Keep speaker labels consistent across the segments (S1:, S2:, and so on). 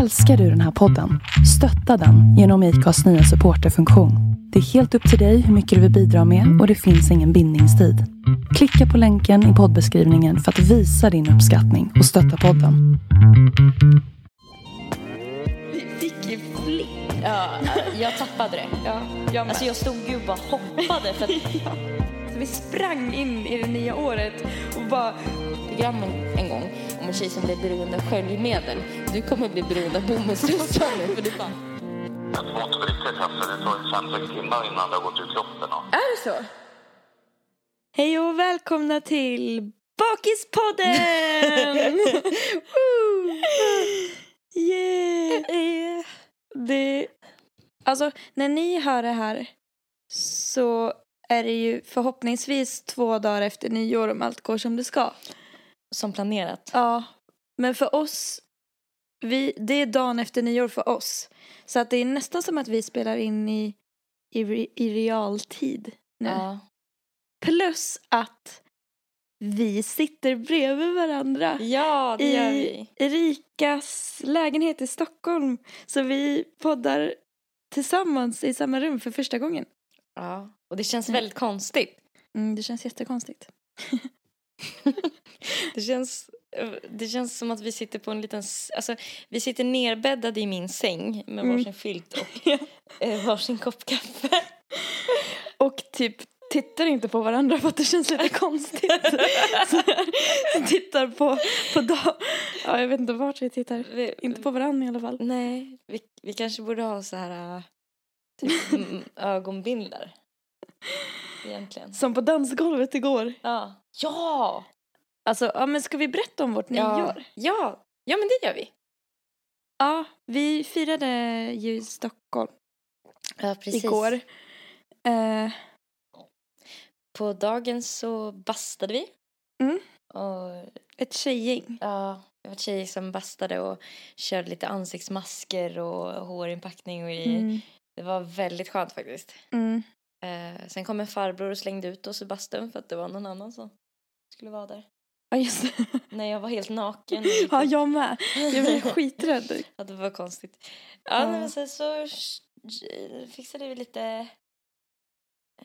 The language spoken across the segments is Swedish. S1: Älskar du den här podden? Stötta den genom IKAs nya supporterfunktion. Det är helt upp till dig hur mycket du vill bidra med och det finns ingen bindningstid. Klicka på länken i poddbeskrivningen för att visa din uppskattning och stötta podden.
S2: Vi fick ju flipp.
S3: Ja, jag tappade det.
S2: Ja, jag med.
S3: Alltså jag stod ju och bara hoppade för att
S2: Så vi sprang in i det nya året och bara...
S3: program en, en gång om en tjej som blev beroende av sköljmedel. Du kommer bli beroende av bomullstussar nu för du bara
S4: Jag tror inte på riktigt alltså. Det tar 5-6 timmar innan det har gått ur kroppen. Och...
S2: Är det så? Hej och välkomna till Bakispodden! Woo! yeah! Det... Alltså, när ni hör det här så är det ju förhoppningsvis två dagar efter nyår om allt går som det ska.
S3: som planerat.
S2: Ja, men för oss, vi, det är dagen efter nyår för oss. Så att det är nästan som att vi spelar in i, i, re- i realtid nu.
S3: Ja.
S2: Plus att vi sitter bredvid varandra
S3: ja, det gör
S2: i
S3: vi.
S2: Rikas lägenhet i Stockholm. Så vi poddar tillsammans i samma rum för första gången.
S3: Ja. Och det känns väldigt konstigt.
S2: Mm, det känns jättekonstigt.
S3: Det känns, det känns som att vi sitter på en liten... s- Alltså, vi sitter nerbäddade i min säng med
S2: Mm.
S3: varsin filt och eh, varsin kopp kaffe.
S2: Och typ tittar inte på varandra för att det känns lite konstigt. Så här, tittar på, på dag... Ja, jag vet inte vart vi tittar.
S3: Vi,
S2: Inte på varandra i alla fall.
S3: Nej, vi, vi kanske borde ha så här... eh, Typ mm, ögonbindlar. Egentligen.
S2: Som på dansgolvet igår.
S3: Ja! Ja!
S2: Alltså, ja men ska vi berätta om vårt
S3: Ja,
S2: nyår?
S3: ja. ja men det gör vi.
S2: Ja, vi firade ju i Stockholm
S3: Ja,
S2: igår. Eh,
S3: På dagen så bastade vi.
S2: Mm.
S3: Och,
S2: ett tjejgäng.
S3: ja, det var tjejer som bastade och körde lite ansiktsmasker och hårinpackning. Och i.
S2: Mm.
S3: Det var väldigt skönt faktiskt.
S2: Mm.
S3: Eh, sen kom en farbror och slängde ut oss i bastun för att det var någon annan som skulle vara där.
S2: Ja, just det.
S3: När jag var helt naken.
S2: Ja, jag med. Jag blev skiträdd.
S3: Ja, det var konstigt. Ja,
S2: Ja.
S3: nej, men sen så sh- j- fixade vi lite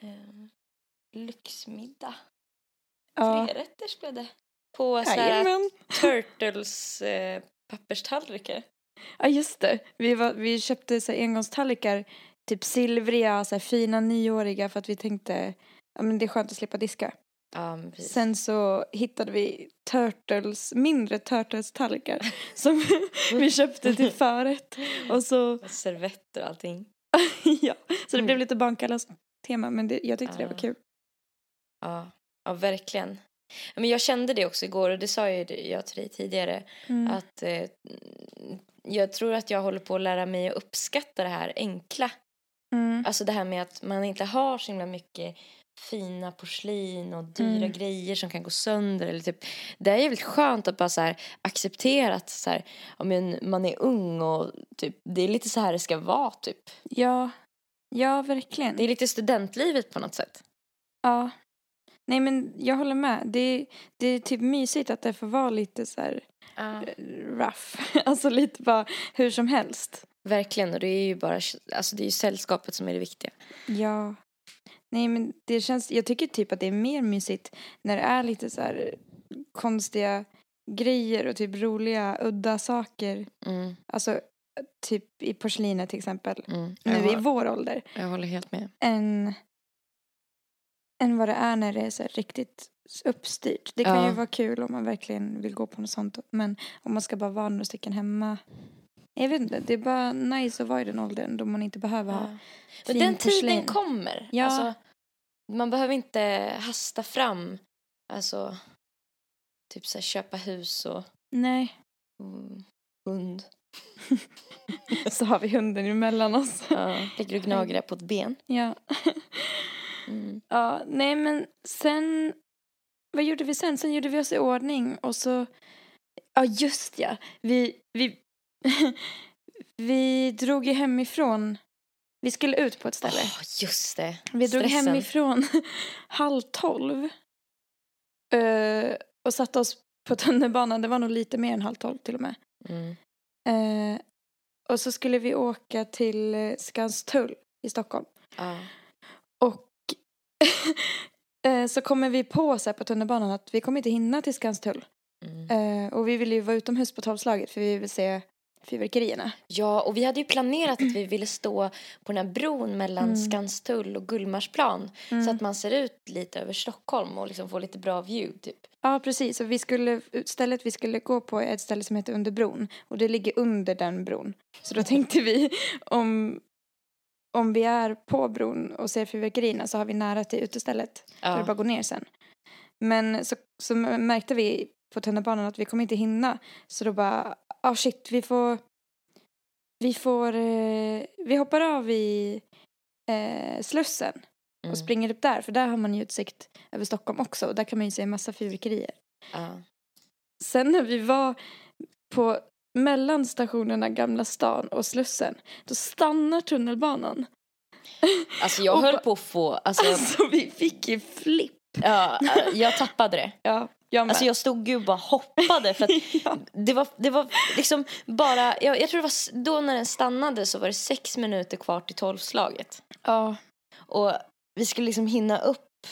S3: ehm, lyxmiddag.
S2: Ja.
S3: Trerätters blev det. På så här
S2: Jajamän.
S3: Turtles eh, papperstallrikar.
S2: Ja just det. Vi, var, vi köpte så här, engångstallrikar, typ silvriga, så här, fina nioåriga för att vi tänkte ja, men det är skönt att slippa diska.
S3: Ja, men precis.
S2: Sen så hittade vi turtles, mindre turtles-tallrikar som vi köpte till förrätt. Och så,
S3: Och servetter och allting.
S2: ja, så det blev lite barnkalas-tema men det, jag tyckte det var
S3: Ja.
S2: kul.
S3: Ja, ja verkligen. Ja, Men jag kände det också igår och det sa ju det- jag till dig tidigare.
S2: Mm.
S3: Att eh, jag tror att jag håller på att lära mig att uppskatta det här enkla.
S2: Mm.
S3: Alltså det här med att man inte har så himla mycket fina porslin och dyra
S2: Mm.
S3: grejer som kan gå sönder. Eller typ, det är jävligt skönt att bara så här acceptera att så här, ja, men man är ung och typ, det är lite så här det ska vara. Typ.
S2: Ja, ja verkligen.
S3: Det är lite studentlivet på något sätt.
S2: Ja. Nej men jag håller med. Det, det är typ mysigt att det får vara lite så här eh, rough. Alltså lite bara hur som helst.
S3: Verkligen, och det är ju bara alltså det är ju sällskapet som är det viktiga.
S2: Ja. Nej men det känns, jag tycker typ att det är mer mysigt när det är lite så här eh, konstiga grejer och typ roliga, udda saker.
S3: Mm,
S2: Alltså typ i porslinet till exempel.
S3: mm. Jag,
S2: Nu i
S3: hå-
S2: vår ålder.
S3: jag håller helt med.
S2: Än, än vad det är när det är så här riktigt uppstyrt. Det kan
S3: Ja.
S2: ju vara kul om man verkligen vill gå på något sånt. Men om man ska bara vara några stycken hemma. Jag vet inte, det är bara nice att vara i den åldern då man inte behöver ha
S3: Ja. Men
S2: fin
S3: den tiden
S2: porslin.
S3: kommer.
S2: Ja.
S3: Alltså, man behöver inte hasta fram. Alltså, typ så här, köpa hus och
S2: Nej.
S3: mm, hund.
S2: Så har vi hunden emellan oss.
S3: Ja. Ligger och gnager på ett ben.
S2: Ja.
S3: Mm.
S2: ja, nej men sen, vad gjorde vi sen? Sen gjorde vi oss i ordning och så, ja just ja, vi, vi, vi drog ju hemifrån, vi skulle ut på ett ställe.
S3: Åh, just det.
S2: vi drog
S3: stressen.
S2: hemifrån halv tolv eh, och satte oss på tunnelbanan, det var nog lite mer än halv tolv till och med.
S3: Mm.
S2: Eh, Och så skulle vi åka till eh, Skanstull i Stockholm.
S3: Ja.
S2: Och eh, så kommer vi på så här på tunnelbanan att vi kommer inte hinna till Skanstull.
S3: Mm.
S2: Eh, och vi vill ju vara utomhus på tolvslaget för vi vill se fyrverkerierna.
S3: ja, och vi hade ju planerat att vi ville stå på den här bron mellan
S2: Mm.
S3: Skanstull och Gullmarsplan så
S2: Mm.
S3: att man ser ut lite över Stockholm och liksom får lite bra view typ.
S2: Ja, precis. Och vi skulle, stället vi skulle gå på är ett ställe som heter Under bron. Och det ligger under den bron. Så då tänkte vi om, om vi är på bron och ser fyrverkerierna så har vi nära till utestället. Ja. För att bara
S3: Ja.
S2: gå ner sen. Men så, så märkte vi på tunnelbanan att vi kommer inte hinna. Så då bara, ah shit, vi får... Vi får... Eh, vi hoppar av i eh, Slussen
S3: Mm.
S2: och springer upp där. För där har man ju utsikt över Stockholm också. Och där kan man ju se en massa fyrverkerier.
S3: Ja.
S2: Sen när vi var på mellan stationerna Gamla stan och Slussen, då stannar tunnelbanan.
S3: Alltså jag
S2: Och
S3: höll
S2: ba-
S3: på att få, alltså,
S2: Alltså vi fick ju flipp.
S3: ja, eh, jag tappade det.
S2: Ja, jag med.
S3: Alltså jag stod ju och bara hoppade för att
S2: ja.
S3: det var, det var liksom bara, jag, jag tror det var s- då när den stannade så var det sex minuter kvar till tolvslaget.
S2: ja,
S3: Och vi skulle liksom hinna upp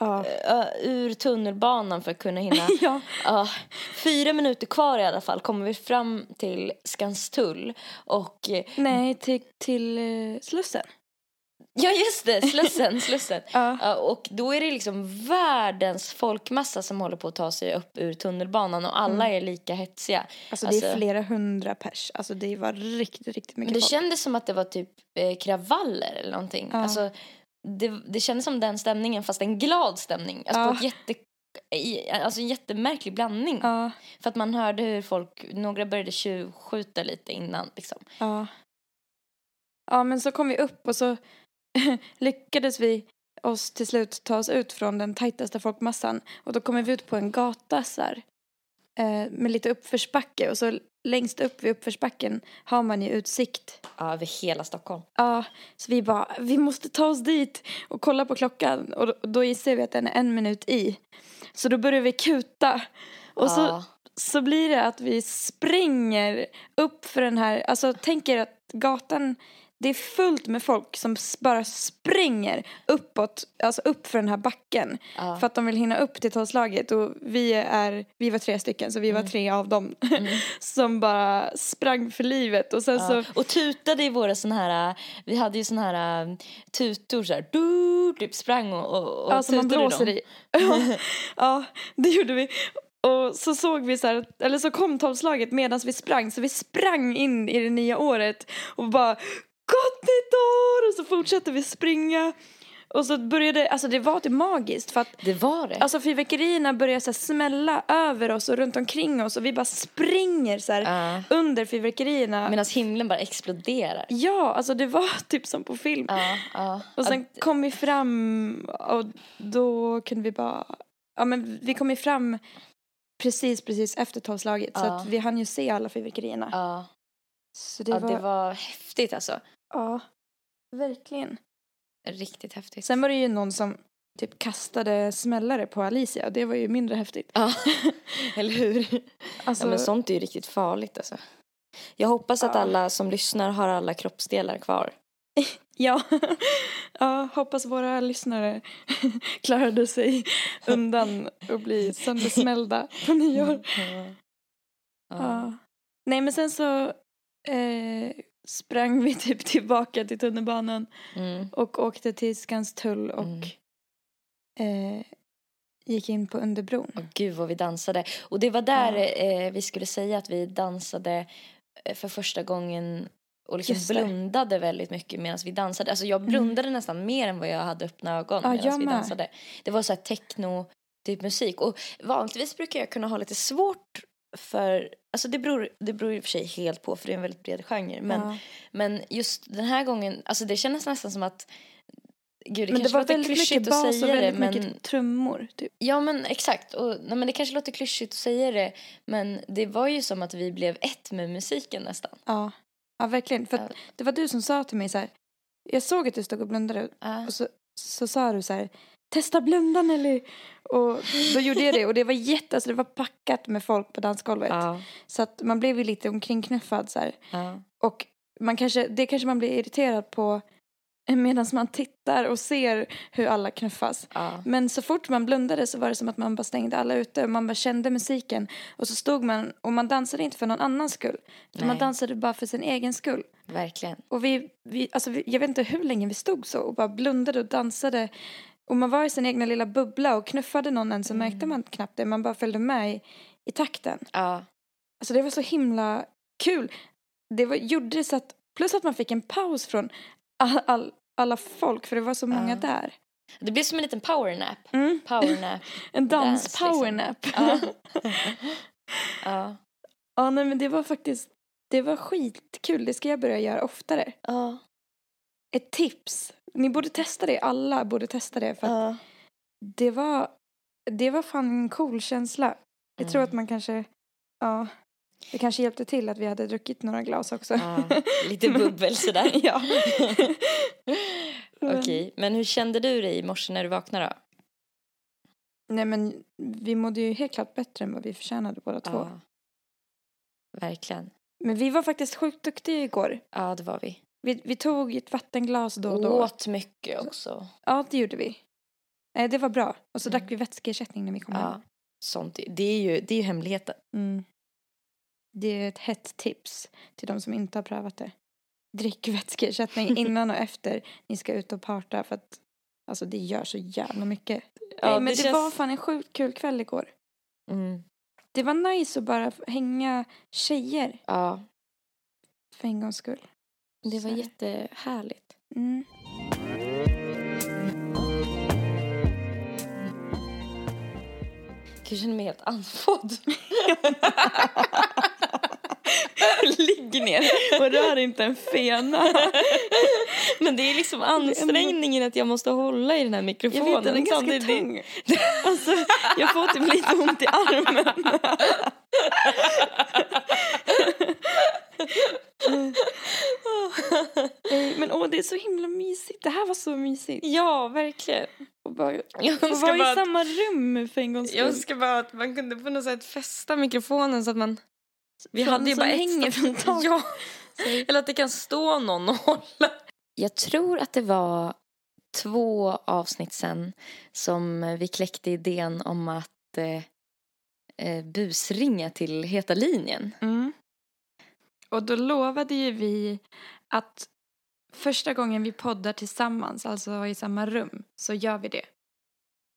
S2: ja.
S3: ö, ur tunnelbanan för att kunna hinna.
S2: ja.
S3: Ja, fyra minuter kvar i alla fall kommer vi fram till Skanstull och eh,
S2: Nej, till, till eh, Slussen.
S3: ja just det, Slussen, Slussen.
S2: Ja.
S3: Ja, och då är det liksom världens folkmassa som håller på att ta sig upp ur tunnelbanan och alla är lika hetsiga.
S2: Alltså, det
S3: Alltså-
S2: är flera hundra pers. Alltså det var riktigt, riktigt
S3: Men
S2: mycket
S3: det
S2: folk.
S3: kändes som att det var typ eh, kravaller eller någonting.
S2: Ja.
S3: Alltså, det, det kändes som den stämningen fast en glad stämning. Alltså,
S2: Ja.
S3: på ett jätte, i, alltså en jättemärklig blandning.
S2: Ja,
S3: För att man hörde hur folk, några började tjuvskjuta lite innan liksom.
S2: ja. Ja, men så kom vi upp och så lyckades vi oss till slut ta oss ut från den tajtaste folkmassan. Och då kommer vi ut på en gata så här, eh, med lite uppförsbacke. Och så längst upp vid uppförsbacken har man ju utsikt.
S3: Ja, över hela Stockholm.
S2: Ja, så vi bara, vi måste ta oss dit och kolla på klockan. Och då, då inser vi att den är en minut i. Så då börjar vi kuta. Och så
S3: Ja.
S2: så blir det att vi springer upp för den här, alltså tänk er att gatan, det är fullt med folk som s- bara springer uppåt, alltså upp för den här backen.
S3: Ja.
S2: För att de vill hinna upp till tolvslaget och vi är, vi var tre stycken så vi
S3: Mm.
S2: var tre av dem som bara sprang för livet och sen
S3: Ja.
S2: så
S3: Och tutade i våra sån här, äh, vi hade ju sån här äh, tutor så här, du, typ sprang och, och, och
S2: Ja, som man
S3: tutade
S2: blåser
S3: dem.
S2: i. Ja, ja, det gjorde vi. Och så såg vi så här, eller så kom tolvslaget medan vi sprang, så vi sprang in i det nya året och bara gott nytt år! Och så fortsatte vi springa. Och så började, alltså det var typ magiskt för att
S3: Det var det.
S2: alltså fyrverkerierna började så här smälla över oss och runt omkring oss och vi bara springer så här
S3: Ja.
S2: under fyrverkerierna.
S3: Medan himlen bara exploderar.
S2: Ja, alltså det var typ som på film.
S3: Ja, ja.
S2: Och sen kom vi fram och då kunde vi bara... Ja, men vi kom ju fram precis, precis efter tolvslaget så
S3: Ja.
S2: att vi hann ju se alla fyrverkerierna.
S3: ja,
S2: Så det,
S3: ja,
S2: var,
S3: det var häftigt alltså.
S2: Ja, verkligen.
S3: Riktigt häftigt.
S2: Sen var det ju någon som typ kastade smällare på Alicia och det var ju mindre häftigt.
S3: Ja, eller hur?
S2: Alltså,
S3: Ja, men sånt är ju riktigt farligt alltså. Jag hoppas att
S2: Ja.
S3: alla som lyssnar har alla kroppsdelar kvar.
S2: ja. ja, hoppas våra lyssnare klarade sig undan och bli söndersmällda på nyår.
S3: Mm. Ja.
S2: Ja. Nej men sen så eh, sprang vi typ tillbaka till tunnelbanan
S3: Mm.
S2: och åkte till Skanstull och
S3: Mm.
S2: eh, gick in på underbron.
S3: Åh, gud vad vi dansade. Och det var där
S2: Ja.
S3: eh, vi skulle säga att vi dansade eh, för första gången och liksom
S2: Just det. Mm.
S3: blundade väldigt mycket medan vi dansade. Alltså jag blundade nästan mer än vad jag hade öppna ögon
S2: Ja,
S3: medan
S2: jag
S3: vi
S2: med.
S3: dansade. Det var så här techno typ musik och vanligtvis brukar jag kunna ha lite svårt för, alltså det beror, det beror i och för sig helt på för det är en väldigt bred genre men,
S2: Ja.
S3: men just den här gången, alltså det kändes nästan som att Gud, det
S2: men det
S3: kanske
S2: var
S3: låter
S2: väldigt mycket
S3: klyschigt att
S2: bas och
S3: säga det
S2: väldigt
S3: men
S2: mycket trummor. Typ.
S3: Ja men exakt. Och, nej, men det kanske låter klyschigt att säga det men det var ju som att vi blev ett med musiken nästan.
S2: Ja. ja, verkligen. För att
S3: Ja.
S2: det var du som sa till mig så här, jag såg att du stod och blundade
S3: Ja.
S2: och så, så sa du så här, testa blundan Nelly. Och då gjorde jag det och det var jätte, alltså det var packat med folk på dansgolvet.
S3: Ja.
S2: Så att man blev ju lite omkringknuffad så här.
S3: Ja.
S2: Och man kanske, det kanske man blir irriterad på medan man tittar och ser hur alla knuffas.
S3: Ja.
S2: Men så fort man blundade så var det som att man bara stängde alla ute och man bara kände musiken och så stod man och man dansade inte för någon annans skull. utan Man
S3: Nej.
S2: dansade bara för sin egen skull.
S3: Verkligen.
S2: Och vi, vi, alltså vi, jag vet inte hur länge vi stod så och bara blundade och dansade. Och man var i sin egna lilla bubbla och knuffade någon en så märkte man knappt det. Man bara följde med i, i takten.
S3: Ja.
S2: Alltså det var så himla kul. Det var, gjorde det så att, plus att man fick en paus från all, all, alla folk för det var så många
S3: Ja.
S2: där.
S3: Det blir som en liten powernap.
S2: Mm.
S3: Powernap.
S2: En
S3: Dans, liksom.
S2: dans-powernap.
S3: ja. ja.
S2: ja, nej men det var faktiskt, det var skitkul. Det ska jag börja göra oftare.
S3: Ja.
S2: Ett tips. Ni borde testa det, alla borde testa det för att
S3: Ja.
S2: det var, det var fan en cool känsla. Jag tror
S3: Mm.
S2: att man kanske, ja, det kanske hjälpte till att vi hade druckit några glas också.
S3: Ja. Lite bubbel sådär.
S2: ja.
S3: Okej, men hur kände du dig i morse när du vaknade då?
S2: Nej men vi mådde ju helt klart bättre än vad vi förtjänade båda två.
S3: Ja. Verkligen.
S2: Men vi var faktiskt sjukt duktiga igår.
S3: Ja, det var vi.
S2: Vi, vi tog ett vattenglas då och då.
S3: Åt mycket också.
S2: Ja, det gjorde vi. Nej, det var bra. Och så
S3: Mm.
S2: drack vi vätskeersättning när vi kom hem.
S3: Ja. Sånt. Det är ju, det är ju hemligheten.
S2: Mm. Det är ett hett tips till de som inte har prövat det. Drick vätskeersättning innan och efter ni ska ut och parta för att alltså det gör så jävla mycket. Nej, men det,
S3: känns-
S2: var fan en sjukt kul kväll igår.
S3: Mm.
S2: Det var nice att bara hänga tjejer
S3: Ja.
S2: för en gångs skull.
S3: Det var
S2: Så.
S3: jättehärligt.
S2: Mm.
S3: Gud, jag känner mig helt andfådd. Ligg ner och rör inte en fena. Men det är liksom ansträngningen att jag måste hålla i den här
S2: Jag
S3: mikrofonen.
S2: vet, den liksom, är ganska
S3: samtidigt.
S2: tung. Alltså, jag får typ lite ont i armen. Nej, Eh, Men åh, det är så himla mysigt. Det här var så mysigt.
S3: Ja, verkligen.
S2: Och bara,
S3: Jag önskar
S2: och vara
S3: bara
S2: i
S3: att-
S2: samma rum för en gångs
S3: Jag
S2: skull.
S3: önskar bara att man kunde på något sätt fästa mikrofonen så att man... Vi
S2: Från-
S3: hade ju
S2: som
S3: bara ett
S2: hänger
S3: sta-
S2: från taket.
S3: Ja. Eller att det kan stå någon och hålla. Jag tror att det var två avsnitt sen som vi kläckte idén om att eh, eh, busringa till Heta linjen.
S2: Mm. Och då lovade ju vi att första gången vi poddar tillsammans, alltså i samma rum, så gör vi det.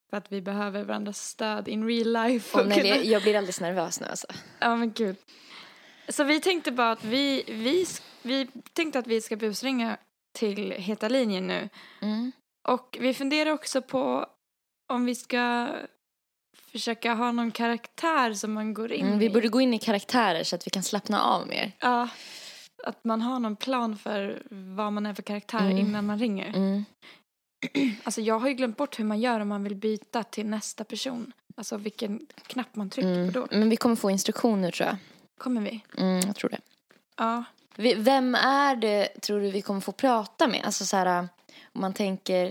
S2: För att vi behöver varandras stöd in real life.
S3: Och när
S2: kunna-
S3: det, jag blir alldeles nervös nu alltså.
S2: Ja men gud. Så vi tänkte bara att vi, vi, sk- vi tänkte att vi ska busringa till Heta linjen nu.
S3: Mm.
S2: Och vi funderar också på om vi ska försöka ha någon karaktär som man går in
S3: Mm, vi
S2: i.
S3: borde gå in i karaktärer så att vi kan slappna av mer.
S2: Ja, att man har någon plan för vad man är för karaktär
S3: Mm.
S2: innan man ringer.
S3: Mm.
S2: Alltså jag har ju glömt bort hur man gör om man vill byta till nästa person. Alltså vilken knapp man trycker
S3: Mm.
S2: på då.
S3: Men vi kommer få instruktioner tror jag.
S2: Kommer vi?
S3: Mm, jag tror det.
S2: Ja.
S3: Vi- Vem är det tror du vi kommer få prata med? Alltså så här, om man tänker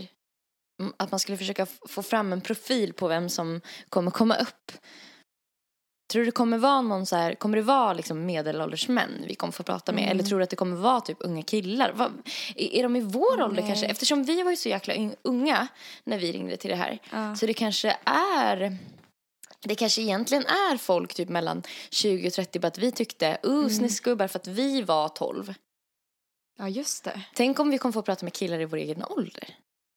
S3: mm, att man skulle försöka f- få fram en profil på vem som kommer komma upp. Tror du det kommer vara någon så här, kommer det vara liksom medelålders män vi kommer få prata med? Eller tror du att det kommer vara typ unga killar? Vad, är, är de i vår ålder kanske? Eftersom vi var ju så jäkla yng- unga när vi ringde till det här.
S2: ja.
S3: Så det kanske är... Det kanske egentligen är folk typ mellan 20 och 30 bara att vi tyckte uh, snusgubbar för att vi var 12.
S2: ja just det.
S3: Tänk om vi kommer få prata med killar i vår egen ålder.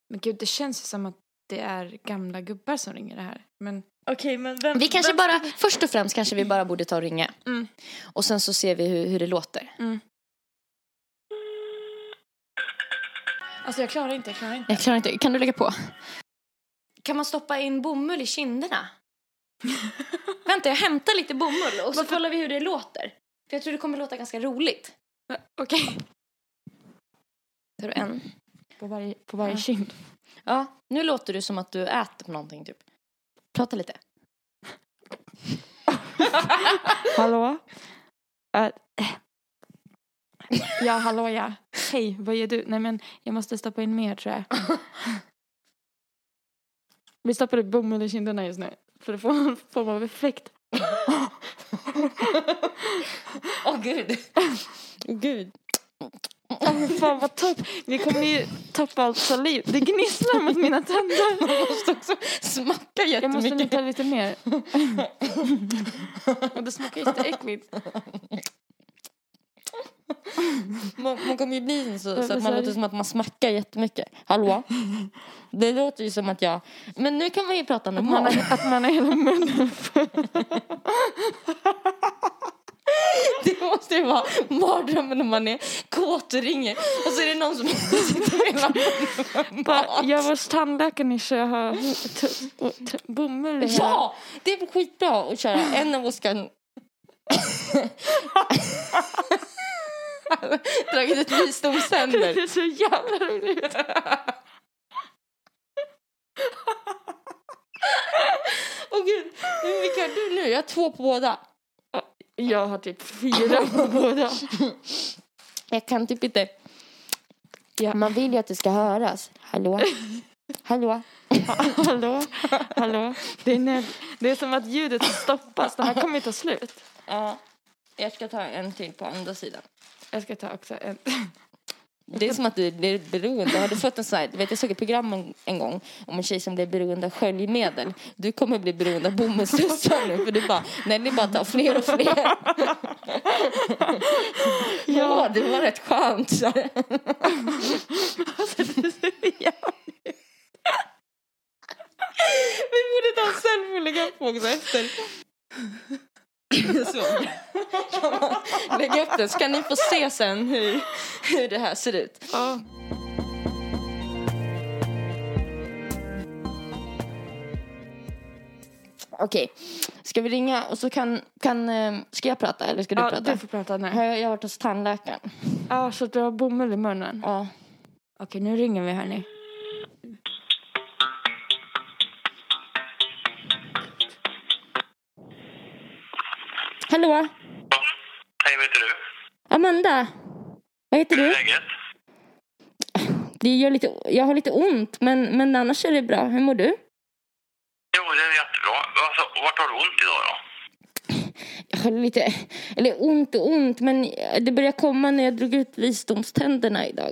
S2: Men gud, det känns ju som att det är gamla gubbar som ringer det här. Men... Okej, men vem...
S3: Vi kanske bara, först och främst kanske vi bara borde ta och ringa.
S2: Mm.
S3: Och sen så ser vi hur, hur det låter.
S2: Alltså jag klarar inte, jag klarar inte.
S3: Jag klarar inte, kan du lägga på? Kan man stoppa in bomull i kinderna? Vänta, jag hämtar lite bomull och så kollar vi hur det låter. För jag tror det kommer låta ganska roligt.
S2: Okej.
S3: Tar du en?
S2: På varje, på varje kind.
S3: Ja, nu låter du som att du äter på någonting typ. Prata lite.
S2: Hallå? Äh, ja, hallå ja. Hej, vad gör du? Nej men jag måste stoppa in mer tror jag. Vi stoppar upp bomull i kinderna just nu. För att få en form av effekt.
S3: Åh gud. gud.
S2: Åh, fan vad topp. Vi kommer ju tappa allt saliv. Det gnisslar mot mina tänder.
S3: Man måste också smacka
S2: Jag måste
S3: jättemycket.
S2: nita lite mer. Och det smakar jätteäckligt.
S3: Man, man kommer ju bli så, så
S2: vad
S3: att
S2: sa
S3: man
S2: du?
S3: låter som att man smackar jättemycket. Hallå? Det låter ju som att jag... Men nu kan man ju prata
S2: Att man,
S3: normalt.
S2: har, att man har hela munnen.
S3: Det måste ju vara mardrömmen när man är kåt och ringer och så är det någon som sitter mellan
S2: Bara, jag var hos tandläkaren i Sjö. Jag har t- och t- bomull i hela-
S3: Ja! Det är skitbra att köra en av oss kan... Dragit ett visdomständer.
S2: Det är så jävla roligt.
S3: Åh gud, hur mycket har du nu? Jag har två på båda.
S2: Jag har typ fyra på båda.
S3: Jag kan typ inte... Man vill ju att det ska höras. Hallå? Hallå?
S2: Hallå, hallå. Det är, när, det är som att ljudet stoppas. Det här kommer ju ta slut.
S3: Ja, jag ska ta en till på andra sidan.
S2: Jag ska ta också en.
S3: Det är som att du blir beroende. Har du fått en sån här, du vet jag såg ett program en, en gång om en tjej som blev beroende av sköljmedel. Du kommer bli beroende av bomullstussar nu för du bara, nej det är bara att ta fler och fler. ja. det var rätt skönt. Alltså, så här. Vi borde ta en selfie och lägga upp också efter. Så. Kan man lägga upp den så kan ni få se sen hur, hur det här ser ut.
S2: Ja.
S3: Okej, ska vi ringa och så kan, kan eh, ska jag prata eller ska du
S2: Ja,
S3: prata?
S2: du får prata nu.
S3: Har jag, jag har varit hos tandläkaren.
S2: Ja, så att du har bomull i munnen.
S3: Ja.
S2: Okej, nu ringer vi hörni.
S3: Hallå,
S4: Hej, vad heter du?
S3: Amanda. Vad heter
S4: Hur är
S3: du?
S4: läget?
S3: Det gör lite, jag har lite ont, men, men annars är det bra. Hur mår du?
S4: Jo, det är jättebra. Alltså, vart har du ont idag då?
S3: Jag har lite, eller ont och ont, men det börjar komma när jag drog ut visdomständerna idag.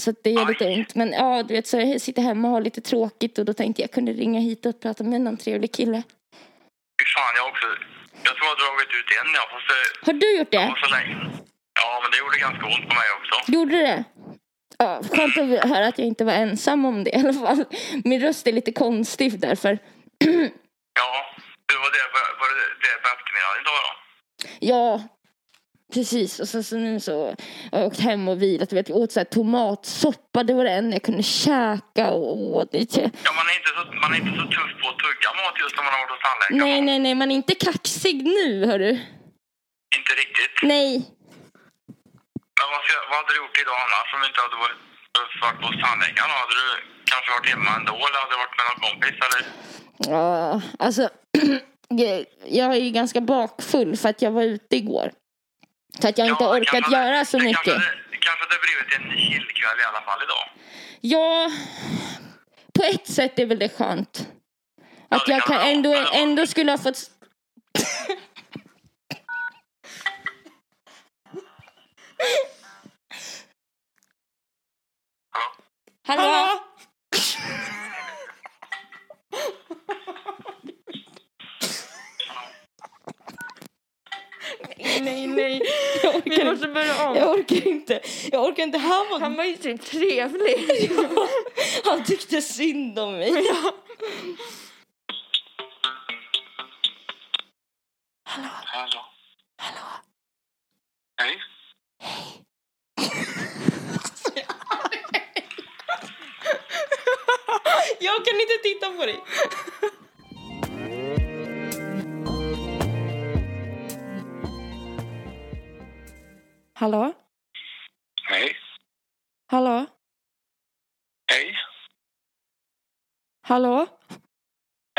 S3: Så att det gör lite ont. Men ja, du vet, så jag sitter hemma och har lite tråkigt och då tänkte jag kunde ringa hit och prata med någon trevlig kille.
S4: Fy fan, jag också. Jag tror jag har dragit ut en, ja. Fast det
S3: Har du gjort det?
S4: var så länge. Ja, men det gjorde ganska ont på mig också.
S3: Gjorde det? Ja, skönt att höra att jag inte var ensam om det i alla fall. Min röst är lite konstig därför.
S4: Ja, det var det på, var det, det på eftermiddagen idag då.
S3: Ja, precis. Och sen så nu så har jag åkt hem och vilat. Du Vet, jag åt så här tomatsoppa, det var det enda jag kunde käka. Och, och, det,
S4: Ja, man är, inte så, man är inte så tuff på att tugga mat just när man har varit hos tandläkaren.
S3: nej, nej, nej, man är inte kaxig nu, hörru.
S4: Inte riktigt.
S3: Nej.
S4: Men vad, ska, vad hade du gjort idag annars om du inte hade varit, varit hos tandläkaren? Hade du kanske varit hemma ändå eller hade du varit med någon kompis eller?
S3: Ja, alltså. jag- jag är ju ganska bakfull för att jag var ute igår. Så att jag inte
S4: Ja, det
S3: orkat
S4: kanske hade-
S3: göra så
S4: det
S3: mycket.
S4: Kanske, hade- det kanske det blivit en chillkväll i alla fall idag.
S3: Ja, på ett sätt är väl det skönt. Att jag kan ändå, ändå skulle ha fått...
S4: Hallå?
S3: Hallå?
S2: Nej, nej.
S3: Jag
S2: Vi
S3: orkar,
S2: måste börja om.
S3: jag orkar inte. Jag orkar inte. Han var...
S2: Han
S3: Han,
S2: var ju så trevlig.
S3: tyckte synd om mig.
S4: Hallå? Hej.
S3: Jag kan inte titta på dig.
S2: Hallå?
S4: Hej.
S2: Hallå?
S4: Hej.
S2: Hallå?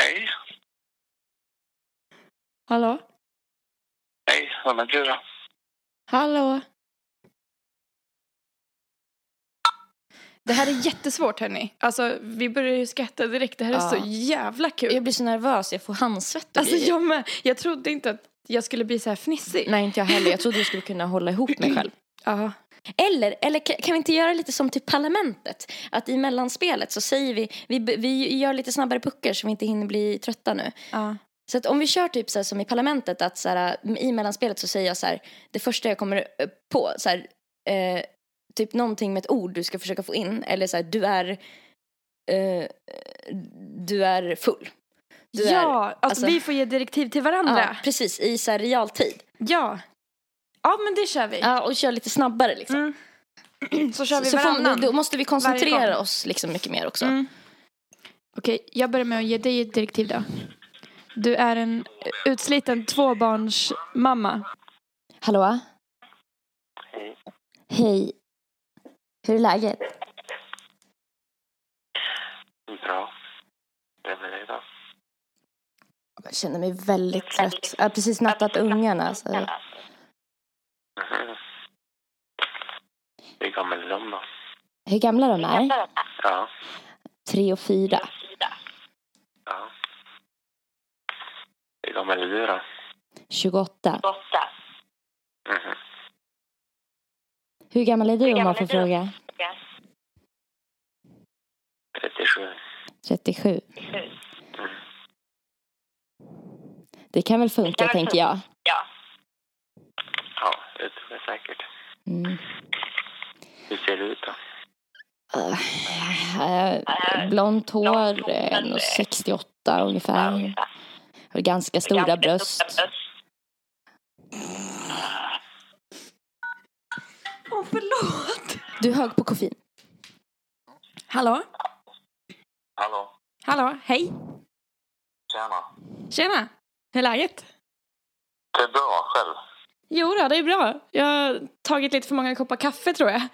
S4: Hej.
S2: Hallå?
S4: Hej. Vem är du då?
S2: Hallå? Det här är jättesvårt hörni. Alltså vi börjar ju skratta direkt. Det här
S3: Ja.
S2: är så jävla kul.
S3: Jag blir så nervös. Jag får handsvett och
S2: Alltså
S3: grejer.
S2: jag med. Jag trodde inte att jag skulle bli så här fnissig.
S3: Nej, inte jag heller. Jag trodde du skulle kunna hålla ihop mig själv.
S2: Ja.
S5: Eller, eller ka- kan vi inte göra lite som till Parlamentet? Att i mellanspelet så säger vi, vi, b- vi gör lite snabbare puckar så vi inte hinner bli trötta nu.
S2: Ja.
S5: Så att om vi kör typ så här som i Parlamentet att så här, i mellanspelet så säger jag så här, det första jag kommer eh, på så här, eh, typ någonting med ett ord du ska försöka få in eller så här, du är eh, du är full. Du
S2: ja,
S5: är,
S2: alltså,
S5: alltså-
S2: vi får ge direktiv till varandra.
S5: ja, precis i så här realtid.
S2: Ja. Ja, men det kör vi.
S5: Ja, och kör lite snabbare liksom.
S2: Mm. Så kör vi
S5: så får, då,
S2: varannan.
S5: då måste vi
S2: Varje
S5: koncentrera
S2: gång.
S5: oss liksom mycket mer också.
S2: Mm. Okej, jag börjar med att ge dig ett direktiv då. Du är en utsliten tvåbarnsmamma.
S5: Hallå?
S4: Hej.
S5: Hej. Hur är läget?
S4: Bra. Vem är det då?
S5: Jag känner mig väldigt trött. Jag har precis nattat ungarna. Så...
S4: Mhm. Hur gammal är de då?
S5: Hur gamla de är?
S4: Ja.
S5: Tre och fyra.
S4: ja. Hur gammal är du då?
S5: 28.
S4: Mhm.
S5: Hur gammal är du om man får fråga?
S4: 37.
S5: 37. Det kan väl funka, tänker jag.
S4: Ja, det tror jag säkert.
S5: Mm.
S4: Hur ser du ut då?
S5: Eh, Blont hår, eh, nog 68 ungefär. Har ganska stora bröst.
S2: Åh, oh, förlåt!
S5: Du är hög på koffein.
S2: Hallå?
S4: Hallå.
S2: Hallå? Hej!
S4: Tjena.
S2: Tjena! Hur är läget?
S4: Det är bra själv.
S2: Jo då, det är bra. Jag har tagit lite för många koppar kaffe tror jag.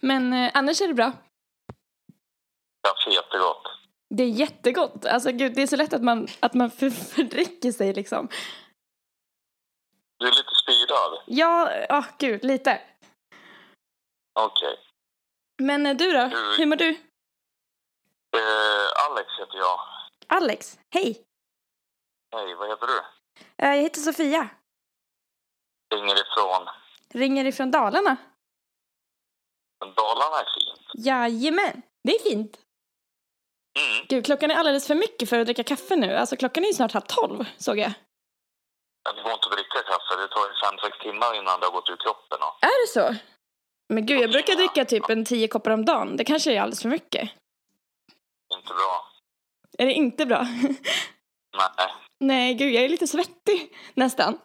S2: Men eh, annars är det bra.
S4: Kaffe är jättegott.
S2: Det är jättegott. Alltså gud, det är så lätt att man, att man för, fördricker sig liksom.
S4: Du är lite spirad.
S2: Ja, åh gud, lite.
S4: Okej.
S2: Men eh, du då?
S4: Mm.
S2: Hur mår du?
S4: Eh, Alex heter jag.
S2: Alex, hej!
S4: Hej, vad heter du?
S2: Eh, Jag heter Sofia.
S4: Ringer ifrån
S2: Ringer ifrån Dalarna.
S4: Dalarna är fint.
S2: Jajamän, det är fint.
S4: Mm.
S2: Gud, klockan är alldeles för mycket för att dricka kaffe nu. Alltså klockan är ju snart halv tolv, såg jag.
S4: Det går inte att dricka kaffe. Det tar ju fem, sex timmar innan det har gått ur kroppen. Och...
S2: Är det så? Men gud, jag brukar dricka typ en tio koppar om dagen. Det kanske är alldeles för mycket.
S4: Inte bra.
S2: Är det inte bra?
S4: Nej.
S2: Nej, gud, jag är lite svettig nästan.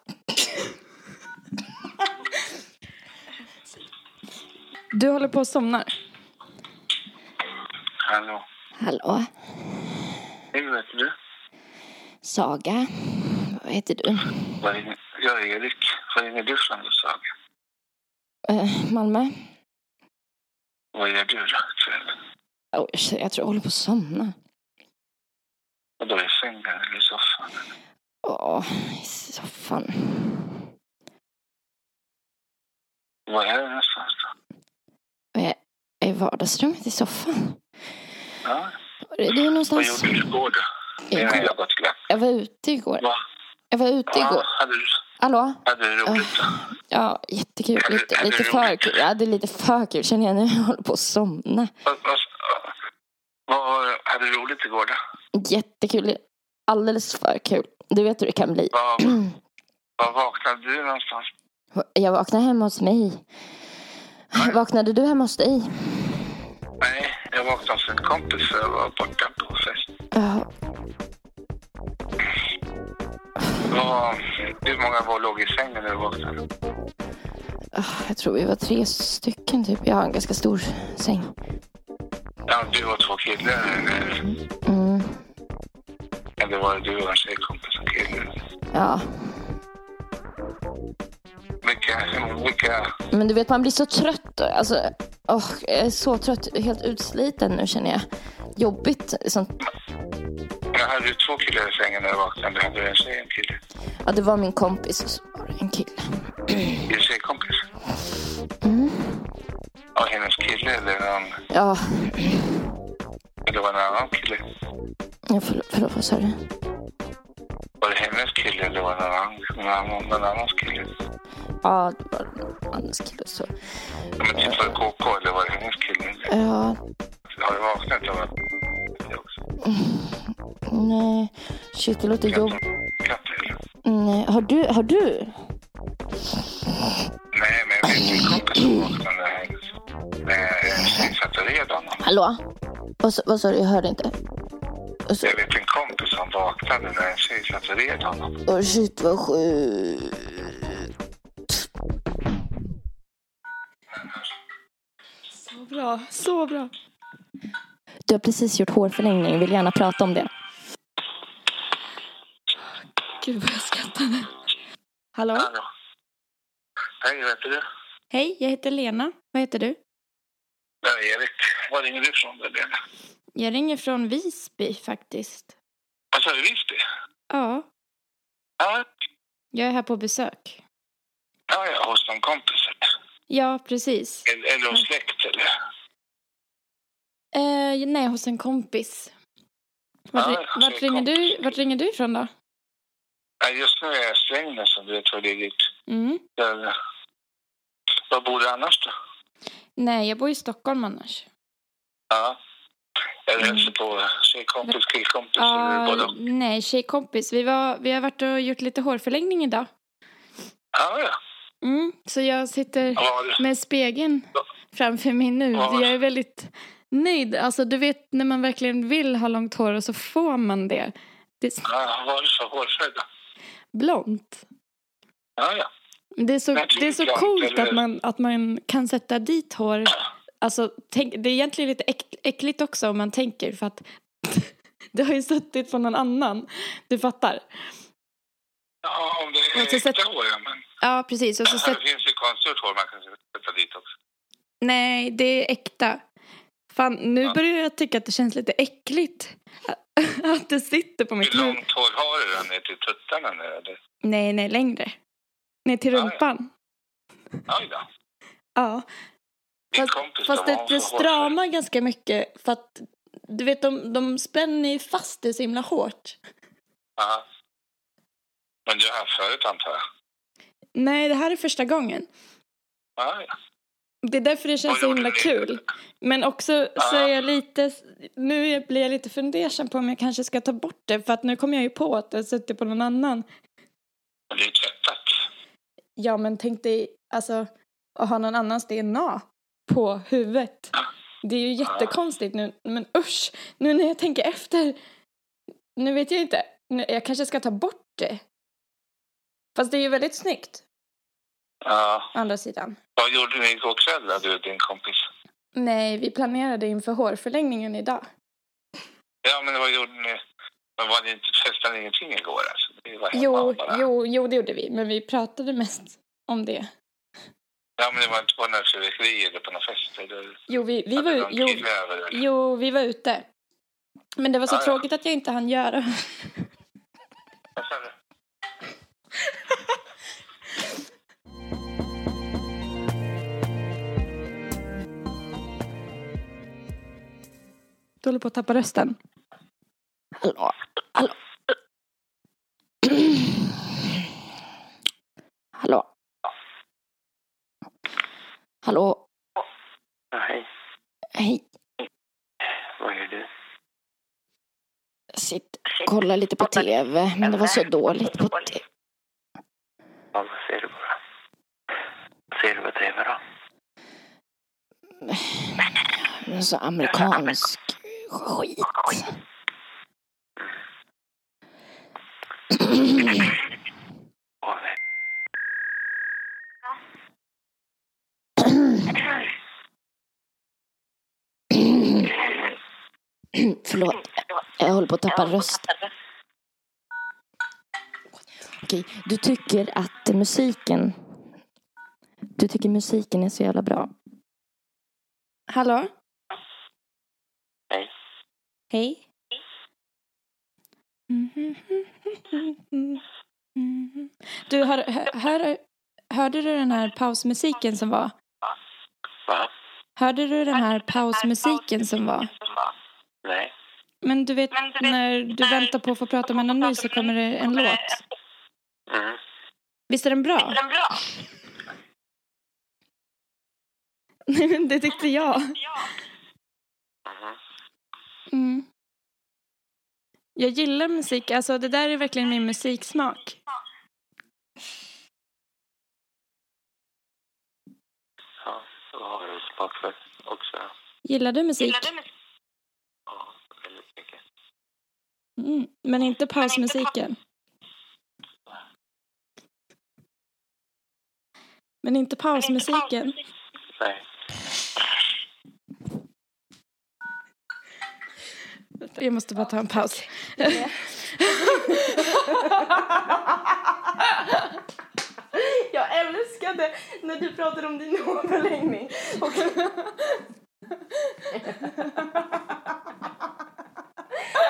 S2: Du håller på att somna.
S4: Hallå.
S5: Hallå,
S4: Hej, vad heter du?
S5: Saga. Vad heter du?
S4: Vad ringer- Jag är Erik. Vad ringer du från Ljusdal?
S5: Eh, Malmö?
S4: Vad gör du då? ikväll?
S5: Oh, shit, jag tror jag håller på att somna.
S4: Vadå, i sängen eller i soffan?
S5: Åh, i soffan.
S4: Vad är det någonstans då?
S5: Jag är I vardagsrummet i soffan.
S4: Ja.
S5: Var är du
S4: Vad
S5: någonstans?
S4: gjorde du igår då? Jag har
S5: Igår.
S4: jobbat glatt.
S5: Jag var ute igår.
S4: Va?
S5: Jag var ute igår.
S4: Ja, hade du,
S5: Hallå?
S4: hade du roligt då?
S5: Ja, jättekul.
S4: Är det-
S5: Lite,
S4: är det
S5: lite för
S4: roligt?
S5: kul. Ja, det är lite för kul känner jag nu. Jag håller på att somna.
S4: Vad, vad, vad hade du roligt igår då?
S5: Jättekul. Alldeles för kul. Du vet hur det kan bli.
S4: Vad, vad vaknade du någonstans?
S5: Jag vaknade hemma hos mig. Vaknade du hemma hos dig?
S4: Nej, jag vaknade hos en kompis för jag var borta på fest.
S5: Ja,
S4: Vad, hur många var låg i sängen när du vaknade?
S5: jag tror vi var tre stycken typ. Jag har en ganska stor säng.
S4: Ja, du och två killar eller?
S5: Mm.
S4: Eller var det du och en tjejkompis och kille?
S5: Ja,
S4: Vilka, vilka,
S5: men du vet man blir så trött. då. Alltså, åh, jag är så trött. Helt utsliten nu känner jag. Jobbigt. Sånt.
S4: jag hade ju två killar i sängen när jag vaknade. Hade du en tjej och en kille?
S5: Ja, det var min kompis och så var det en kille.
S4: Din tjejkompis?
S5: Mm.
S4: Ja, hennes kille eller någon,
S5: Ja,
S4: eller var det en annan kille?
S5: jag förlåt, förlåt vad sa du?
S4: Var det hennes kille eller var det någon annan, någon annan, någon annans kille?
S3: Ja, det var en annan kille. Så.
S4: Ja, Men typ så KK eller vad det nu är för kille.
S3: Ja,
S4: Har du vaknat av att... Det också.
S3: nej. Shit, det låter jobbigt.
S4: Katt eller?
S3: Nej, har du? Har du?
S4: Nej, men jag vet min kompis som vaknade här. Eh, Synsatare redan.
S3: Hallå? Vad, sa- vad sa du? Jag hörde inte. Och så,
S4: Jag vet en kompis som vaknade när en tjej satte red honom.
S3: oh shit, vad sjukt.
S2: Så bra, så bra.
S3: Du har precis gjort hårförlängning. Vill gärna prata om det.
S2: Gud vad jag skrattar nu. Hallå?
S4: Hallå. Hej, vad heter du?
S2: Hej, jag heter Lena. Vad heter du?
S4: Nej, Erik. Var ringer du ifrån? där, Lena?
S2: Jag ringer från Visby faktiskt.
S4: Vad sa du? Visby?
S2: Ja,
S4: Ja,
S2: jag är här på besök.
S4: ja, ja, hos någon kompis.
S2: Ja, precis.
S4: Eller, eller
S2: Mm.
S4: hos släkt, eller?
S2: Eh, nej, hos en kompis. Vart,
S4: Ja,
S2: ri-
S4: Ah, hos en
S2: vart, ringer,
S4: kompis.
S2: du, vart ringer du ifrån då?
S4: Nej, just nu är jag i Strängnäs, som du vet var det ligger.
S2: Mm.
S4: Där- Var bor du annars då?
S2: Nej, jag bor i Stockholm annars.
S4: Ja. Eller
S2: Mm.
S4: hälsar på tjejkompis, killkompis eller
S2: Ja,
S4: både och.
S2: Ah, nej, tjejkompis. Vi, var, vi har varit och gjort lite hårförlängning idag.
S4: Ja, ja.
S2: Mm. Så jag sitter
S4: Vad var det?
S2: med spegeln framför mig nu.
S4: Ja.
S2: Jag är väldigt nöjd. Alltså, du vet när man verkligen vill ha långt hår och så får man det. Det är
S4: Ja, vad var det för hårfärg då?
S2: blont.
S4: Ja, ja.
S2: Det är så,
S4: Naturligt
S2: det är så
S4: blont,
S2: coolt
S4: eller?
S2: att man, att man kan sätta dit hår. Alltså, tänk, det är egentligen lite äck, äckligt också om man tänker för att det har ju suttit på någon annan. Du fattar?
S4: Ja, om det
S2: Och så
S4: är
S2: sätt-
S4: äkta hår, ja. Men...
S2: Ja, precis. Och så sätt,
S4: Det finns ju konstgjort hår man kan sätta dit också.
S2: Nej, det är äkta. Fan, nu
S4: Ja.
S2: börjar jag tycka att det känns lite äckligt. Att det sitter på mitt
S4: Hur
S2: huvud.
S4: långt hår har du då? Ner till tuttarna nu eller?
S2: Nej, nej, längre. Ner till
S4: Ja, ja.
S2: rumpan.
S4: Oj då.
S2: Ja.
S4: Din kompis
S2: Fast
S4: då,
S2: det,
S4: vad har
S2: det
S4: hon för hårfärg?
S2: stramar ganska mycket för att du vet, de, de spänner ju fast det så himla hårt.
S4: Ja. Men du har haft förut antar jag?
S2: Nej, det här är första gången.
S4: Ja, ja.
S2: Det är därför det känns
S4: Oj,
S2: så
S4: gjorde
S2: himla
S4: ni?
S2: kul. Men också så
S4: Ja.
S2: är jag lite, nu är- blir jag lite fundersam på om jag kanske ska ta bort det för att nu kommer jag ju på att det sitter på någon annan.
S4: Men det är ju tvättat.
S2: Ja, men tänk dig alltså, att ha någon annans DNA på huvudet. Det är ju jättekonstigt nu, men usch! Nu när jag tänker efter, nu vet jag inte. Nu, jag kanske ska ta bort det. Fast det är ju väldigt snyggt,
S4: Ja.
S2: å andra sidan.
S4: Vad gjorde ni igår kväll då, du och din kompis?
S2: Nej, vi planerade inför hårförlängningen idag.
S4: Ja, men vad gjorde ni? Men var det inte, festade ni ingenting igår alltså? Det var hemma
S2: Jo,
S4: bara.
S2: jo, jo, det gjorde vi, men vi pratade mest om det.
S4: Ja, men det var inte på några fyrverkerier eller på några fester? Eller,
S2: Jo, vi, vi var ju...
S4: någon
S2: Jo,
S4: kille över eller?
S2: Jo, vi var ute. Men det var så
S4: Ja, ja.
S2: tråkigt att jag inte hann göra.
S4: Vad sa du?
S2: Du håller på att tappa rösten.
S3: Hallå? Hallå? Hallå? Hallå?
S4: Ja, hej.
S3: Hej.
S4: Vad gör du?
S3: Sitt. Kolla lite på tv, men det var så dåligt på tv.
S4: Ja, vad ser du bara? Vad ser du på tv då?
S3: Men Så Alltså, amerikansk skit. Förlåt, jag håller på att tappa rösten. Okej, du tycker att musiken... Du tycker musiken är så jävla bra.
S2: Hallå?
S4: Hej.
S2: Hej. Du, hör, hör, hör, hörde du den här pausmusiken som var?
S4: Va?
S2: Hörde du den här pausmusiken som var?
S4: Nej.
S2: Men du vet, när du väntar på att få prata med någon ny så kommer det en låt.
S4: Mm.
S2: Visst är den bra?
S6: Den bra?
S2: Nej, men det tyckte jag.
S4: Mhm.
S2: Mm. Jag gillar musik. Alltså, det där är verkligen min musiksmak.
S4: Ja, då har vi smak för också.
S2: Gillar du musik?
S4: Ja, väldigt mycket.
S2: Mm. Men inte pausmusiken? Men inte pausmusiken?
S4: Nej.
S2: Jag måste bara ta en paus.
S7: Jag älskade när du pratade om din hårförlängning. Och...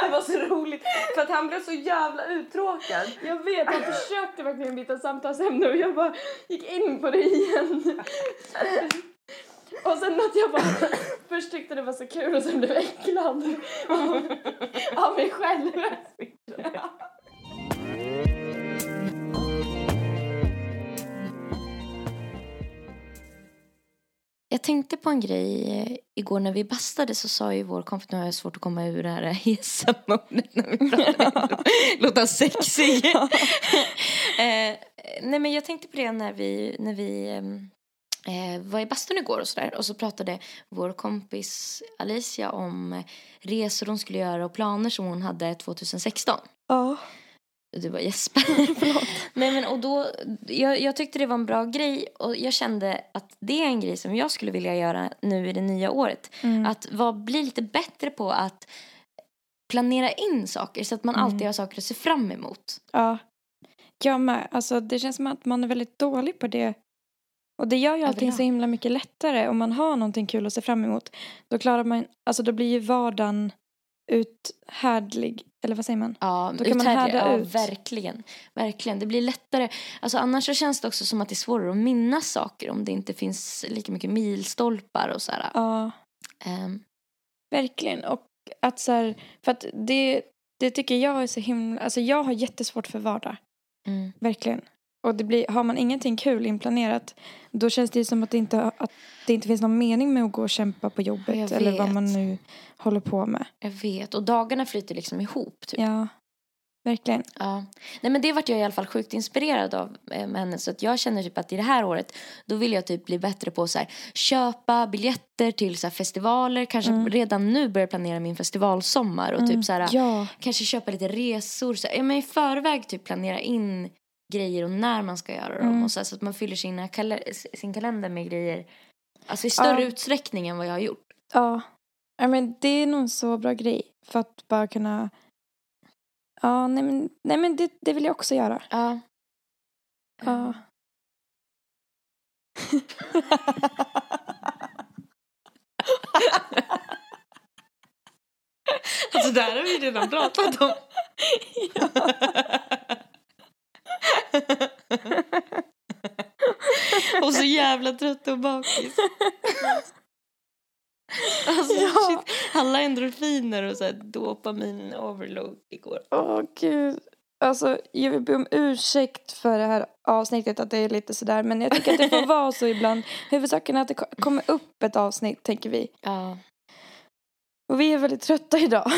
S7: Det var så roligt, för att han blev så jävla uttråkad.
S2: Jag vet,
S7: Jag försökte verkligen byta samtalsämne och jag bara gick in på det igen. Och sen att jag bara först tyckte det var så kul och sen blev jag äcklad av, av mig själv.
S5: Jag tänkte på en grej. eh, Igår när vi bastade så sa ju vår kompis, nu har jag svårt att komma ur det här hesa-modet när vi pratar. Låta sexig. eh, nej men jag tänkte på det när vi, när vi ehm, eh, var i bastun igår och sådär. Och så pratade vår kompis Alicia om eh, resor hon skulle göra och planer som hon hade 2016.
S2: Ja.
S5: Och Du bara Jesper. Nej men och då, jag, jag tyckte det var en bra grej och jag kände att det är en grej som jag skulle vilja göra nu i det nya året.
S2: Mm.
S5: Att var, bli lite bättre på att planera in saker så att man
S2: Mm.
S5: alltid har saker att se fram emot.
S2: Ja. Jag med. Alltså, det känns som att man är väldigt dålig på det. Och det gör ju allting
S5: Överlag.
S2: så himla mycket lättare. Om man har någonting kul att se fram emot. Då klarar man, alltså då blir ju vardagen uthärdlig. Eller vad säger man?
S5: Ja,
S2: Då kan man
S5: uthärdliga.
S2: härda
S5: ja,
S2: ut.
S5: Verkligen, verkligen. Det blir lättare. Alltså, annars så känns det också som att det är svårare att minnas saker om det inte finns lika mycket milstolpar och så här.
S2: Ja,
S5: Ehm,
S2: verkligen. Och att så här, för att det, det tycker jag är så himla, alltså jag har jättesvårt för vardag.
S5: mm.
S2: Verkligen. Och det blir, har man ingenting kul inplanerat då känns det ju som att det inte, att det inte finns någon mening med att gå och kämpa på jobbet
S5: Jag
S2: eller vad
S5: vet.
S2: man nu håller på med.
S5: Jag vet. Och dagarna flyter liksom ihop typ.
S2: Ja, verkligen.
S5: Ja. Nej men det vart jag i alla fall sjukt inspirerad av eh, med henne. Så att jag känner typ att i det här året då vill jag typ bli bättre på att så här, köpa biljetter till så här, festivaler. Kanske
S2: Mm.
S5: redan nu börja planera min festivalsommar och typ så här,
S2: Ja,
S5: kanske köpa lite resor. Så här, ja, men i förväg typ planera in grejer och när man ska göra dem.
S2: Mm.
S5: Och så, här, så att man fyller sina kal- sin kalender med grejer. Alltså i större
S2: Ja.
S5: utsträckning än vad jag har gjort.
S2: ja. Ja, men det är nog en så bra grej för att bara kunna... Ja, nej men, nej, men det, det vill jag också göra.
S5: Ja.
S2: Ja.
S5: Alltså där har vi redan pratat om. Och så jävla trött och bakis. Alltså
S2: Ja.
S5: shit, alla endorfiner och så här dopamin overload igår.
S2: Åh, gud. Alltså, jag vill be om ursäkt för det här avsnittet, att det är lite sådär. Men jag tycker att det får vara så ibland. Huvudsaken är att det ko- kommer upp ett avsnitt, tänker vi.
S5: Ja.
S2: Och vi är väldigt trötta idag.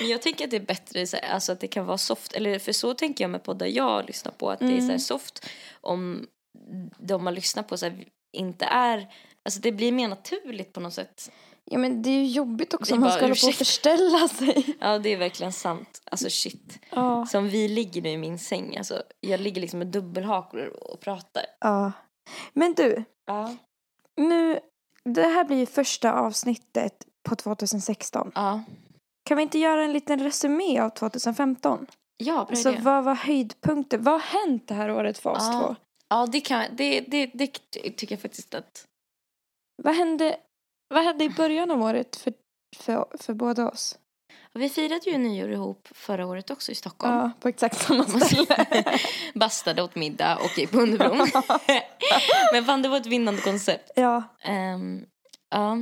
S5: Men jag tänker att det är bättre så här, alltså att det kan vara soft. Eller för så tänker jag med poddar jag lyssnar på. Att det är så här
S2: Mm.
S5: soft om de man lyssnar på så här, inte är... Alltså det blir mer naturligt på något sätt.
S2: Ja, men det är ju jobbigt också
S5: Det är
S2: om man
S5: bara
S2: ska hålla på och
S5: ursäkt.
S2: förställa sig.
S5: Ja det är verkligen sant. Alltså shit.
S2: Ja.
S5: Som vi ligger nu i min säng. Alltså jag ligger liksom med dubbelhakor och pratar.
S2: ja. Men du,
S5: Ja.
S2: Nu, det här blir ju första avsnittet på 2016.
S5: Ja.
S2: Kan vi inte göra en liten resumé av 2015?
S5: Ja, bra
S2: Alltså
S5: idé.
S2: vad var höjdpunkter? Vad har hänt det här året för oss
S5: Ja.
S2: två?
S5: ja det kan det, det, det ty- tycker jag faktiskt att.
S2: Vad hände, vad hände i början av året för, för, för båda oss?
S5: Vi firade ju nyår ihop förra året också i Stockholm.
S2: Ja, på exakt samma
S5: Man
S2: ställe.
S5: Bastade åt middag och gick på underbron. Men fan det var ett vinnande koncept.
S2: ja,
S5: Ehm, ja.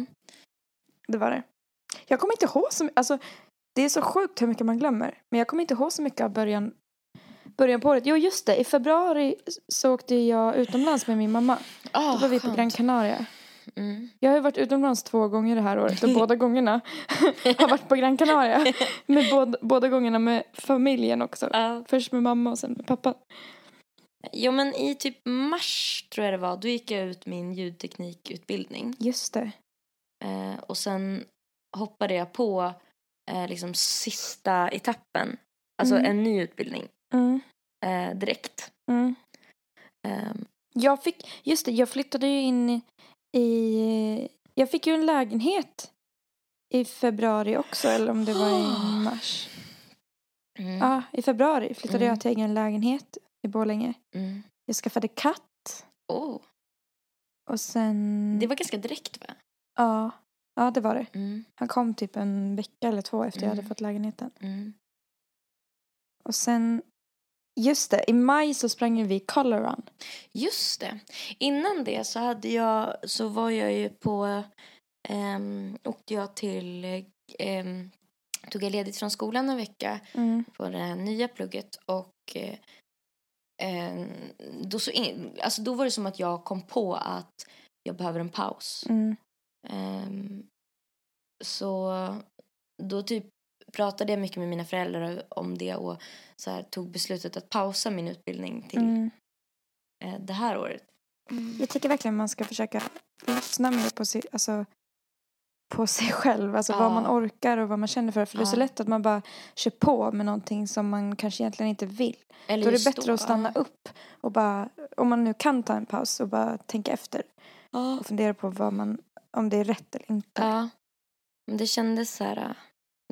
S2: det var det. Jag kommer inte ihåg så mycket. Alltså, det är så sjukt hur mycket man glömmer. Men jag kommer inte ihåg så mycket av början, början på året. Jo, Ah, just det. I februari så åkte jag utomlands med min mamma. Då var vi på Gran Canaria.
S5: Mm.
S2: Jag har ju varit utomlands två gånger det här året och båda gångerna har varit på Gran Canaria. Med båda, båda gångerna med familjen också.
S5: Ja.
S2: Först med mamma och sen med pappa.
S5: Jo, men i typ mars tror jag det var, då gick jag ut min ljudteknikutbildning.
S2: Just det.
S5: Eh, och sen hoppade jag på eh, liksom sista etappen. Alltså
S2: Mm.
S5: en ny utbildning
S2: Mm,
S5: eh, direkt.
S2: mm.
S5: Eh,
S2: Jag fick, just det, jag flyttade ju in i- i, jag fick ju en lägenhet i februari också eller om det var i mars.
S5: mm,
S2: Ja, i februari flyttade
S5: Mm.
S2: jag till egen lägenhet i Borlänge.
S5: mm.
S2: Jag skaffade katt
S5: Oh,
S2: och sen,
S5: det var ganska direkt va?
S2: ja, ja det var det.
S5: Mm,
S2: Han kom typ en vecka eller två efter jag hade
S5: Mm.
S2: fått lägenheten.
S5: mm.
S2: Och sen, just det, i maj så sprang ju vi color run.
S5: Just det. Innan det så hade jag, så var jag ju på, ehm, åkte jag till, ehm, tog jag ledigt från skolan en vecka på det här nya plugget och eh, eh, då, så in, alltså då var det som att jag kom på att jag behöver en paus.
S2: Mm.
S5: Ehm, så då typ pratade jag mycket med mina föräldrar om det och så här, tog beslutet att pausa min utbildning till
S2: Mm.
S5: eh, det här året.
S2: Jag tycker verkligen man ska försöka lyssna mer på sig, alltså, på sig själv. Alltså vad
S5: Ja.
S2: man orkar och vad man känner för. För det är så
S5: Ja.
S2: lätt att man bara kör på med någonting som man kanske egentligen inte vill.
S5: Eller
S2: Då är det
S5: just
S2: bättre att stanna upp och bara, om man nu kan ta en paus och bara tänka efter.
S5: Ja.
S2: Och fundera på vad man, om det är rätt eller inte.
S5: ja. Men det kändes så här, eh,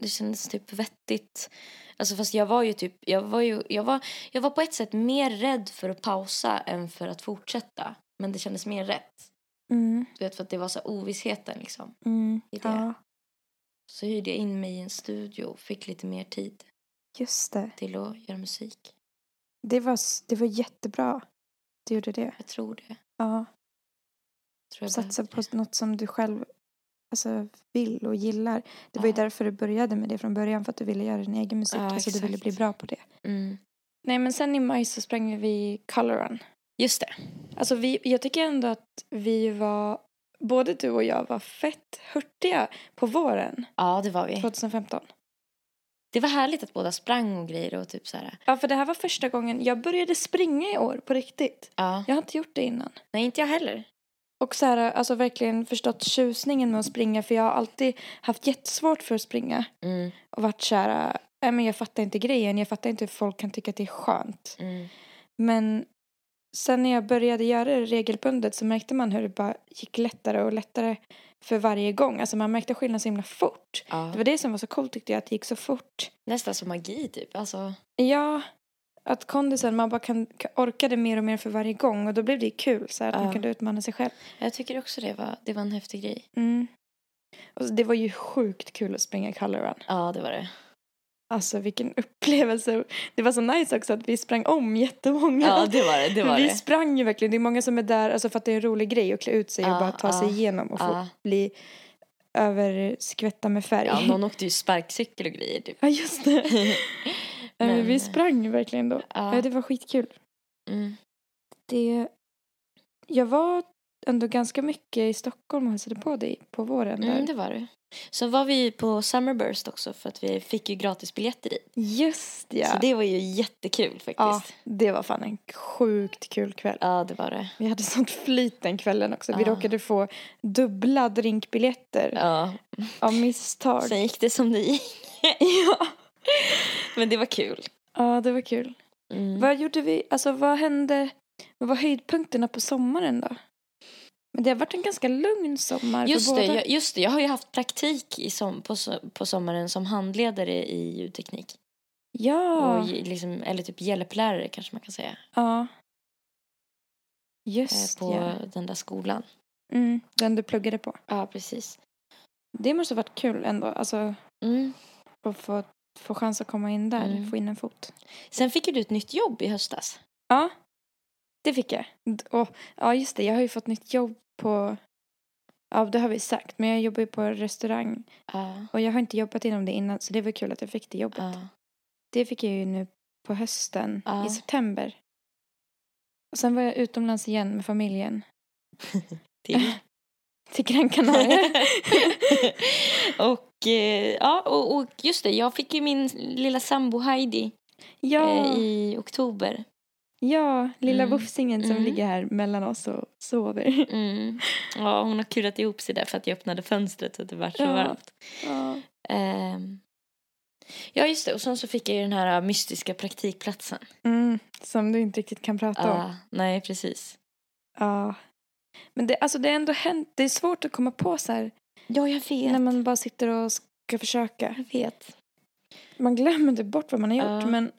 S5: det kändes typ vettigt. Alltså fast jag var ju typ, jag var ju, jag var, jag var på ett sätt mer rädd för att pausa än för att fortsätta. Men det kändes mer rätt.
S2: Mm.
S5: Du vet för att det var så här ovissheten liksom.
S2: Mm.
S5: Det är det.
S2: Ja,
S5: Så hyrde jag in mig i en studio och fick lite mer tid
S2: just det.
S5: till att göra musik.
S2: Det var, s- det var jättebra. Du gjorde det.
S5: Jag tror det.
S2: Ja.
S5: Tror jag
S2: Satsa
S5: behövde
S2: på något som du själv alltså, vill och gillar. Det var ju
S5: Ja.
S2: därför du började med det från början. För att du ville göra din egen musik.
S5: Ja,
S2: alltså du ville bli
S5: exakt.
S2: bra på det.
S5: det. Mm.
S2: Nej men sen i maj så sprang vi color run.
S5: Just det.
S2: Alltså vi, jag tycker ändå att vi var, både du och jag var fett hurtiga på våren
S5: Ja, det var vi.
S2: 2015.
S5: Det var härligt att båda sprang och grejer och typ så här.
S2: Ja för det här var första gången jag började springa i år på riktigt.
S5: Ja.
S2: Jag har inte gjort det innan.
S5: Nej, inte jag heller.
S2: Och så här, alltså verkligen förstått tjusningen med att springa för jag har alltid haft jättesvårt för att springa.
S5: Mm,
S2: Och varit så här, äh, nej men jag fattar inte grejen, jag fattar inte hur folk kan tycka att det är skönt.
S5: mm,
S2: Men sen när jag började göra det regelbundet så märkte man hur det bara gick lättare och lättare för varje gång. Alltså man märkte skillnad så himla fort.
S5: ja.
S2: Det var det som var så coolt tyckte jag, att det gick så fort.
S5: Nästan som magi typ. Alltså,
S2: Ja, att kondisen, man bara kan, orkade mer och mer för varje gång och då blev det ju kul så här, att man
S5: Ja.
S2: kunde utmana sig själv.
S5: jag tycker också det var, det var en häftig grej.
S2: Mm. Och så det var ju sjukt kul att springa color run.
S5: Ja, det var det.
S2: Alltså vilken upplevelse. Det var så nice också att vi sprang om jättemånga.
S5: Ja, det var det. det, var
S2: vi
S5: det.
S2: sprang ju verkligen. Det är många som är där alltså för att det är en rolig grej att klä ut sig och
S5: Ja,
S2: bara ta
S5: ja,
S2: sig igenom och få
S5: Ja.
S2: bli överskvätta med färg.
S5: ah. ja, någon åkte ju sparkcykel och grejer typ.
S2: Ja, just det. Men,
S5: Men- Ah.
S2: vi sprang ju verkligen då.
S5: Ja.
S2: Ja, det var skitkul.
S5: Mm.
S2: Det... Jag var ändå ganska mycket i Stockholm och hälsade på dig på våren där.
S5: Mm, det var det. Så var vi på Summerburst också för att vi fick ju gratis biljetter dit.
S2: Just ja.
S5: Så det var ju jättekul faktiskt.
S2: ja,
S5: Ja,
S2: det var fan en sjukt kul kväll.
S5: det var det.
S2: Vi hade sånt flyt den kvällen också. Vi
S5: Ja.
S2: råkade få dubbla drinkbiljetter
S5: Ah. Ja.
S2: av misstag.
S5: Sen gick det som det gick. ja. Men det var kul.
S2: Ja, det var kul.
S5: Mm.
S2: Vad gjorde vi? Alltså, vad hände? Vad var höjdpunkterna på sommaren då? Men det har varit en ganska lugn sommar för
S5: Just det,
S2: båda.
S5: jag, just det, jag har ju haft praktik i som, på, so- på sommaren som handledare i ljudteknik.
S2: Ja.
S5: Och ge- liksom, eller typ hjälplärare kanske man kan säga.
S2: ja.
S5: eh,
S2: Just
S5: På
S2: ja.
S5: den där skolan.
S2: Mm, den du pluggade på.
S5: Ja, precis.
S2: Det måste ha varit kul ändå. Alltså,
S5: Mm.
S2: att få, få chans att komma in där.
S5: Mm.
S2: Få in en fot.
S5: Sen fick ju du ett nytt jobb i höstas.
S2: Ja, det fick jag. D- Och, ja, just det. Jag har ju fått nytt jobb på... Ja, det har vi sagt. Men jag jobbar ju på en restaurang.
S5: Ja.
S2: Och jag har inte jobbat inom det innan. Så det var kul att jag fick det jobbet.
S5: ja.
S2: Det fick jag ju nu på hösten.
S5: Ja.
S2: I september. Och sen var jag utomlands igen med familjen.
S5: Till.
S2: till Gran Canaria.
S5: och, eh, ja, och, och just det, jag fick ju min lilla sambo Heidi
S2: ja,
S5: eh, i oktober.
S2: ja, lilla
S5: Mm.
S2: vufsingen som
S5: Mm.
S2: ligger här mellan oss och sover.
S5: Mm. Ja, hon har kurat ihop sig där för att jag öppnade fönstret så att det var så
S2: Ja.
S5: varmt.
S2: Ja.
S5: Ehm. Ja, just det. Och sen så fick jag ju den här äh, mystiska praktikplatsen.
S2: Mm, som du inte riktigt kan prata om.
S5: Ah, nej, precis.
S2: Ja. Men det, alltså det har ändå hänt, det är svårt att komma på så här
S5: Ja, jag vet.
S2: när man bara sitter och ska försöka.
S5: Jag vet.
S2: Man glömmer inte bort vad man har gjort
S5: Ja.
S2: men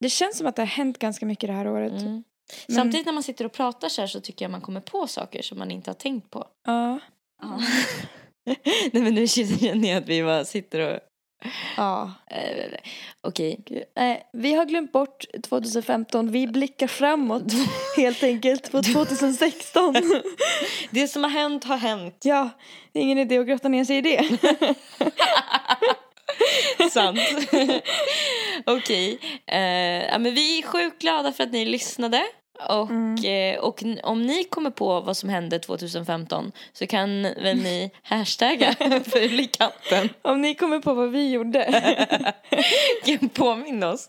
S2: det känns som att det har hänt ganska mycket det här året.
S5: Mm.
S2: Men-
S5: Samtidigt när man sitter och pratar så här så tycker jag man kommer på saker som man inte har tänkt på.
S2: Ja.
S5: nej, men nu känner jag att vi bara sitter och...
S2: ja.
S5: Eh, Okej.
S2: Nej, vi har glömt bort 2015, vi blickar framåt helt enkelt på 2016.
S5: Det som har hänt har hänt.
S2: Ja, det är ingen idé att grotta ner sig i det.
S5: Sant. Okej. Eh, ja, men vi är sjukt glada för att ni lyssnade. Och,
S2: Mm.
S5: eh, och n- om ni kommer på vad som hände 2015 så kan väl ni hashtagga Ful i katten.
S2: Om ni kommer på vad vi gjorde.
S5: Kan Påminna oss.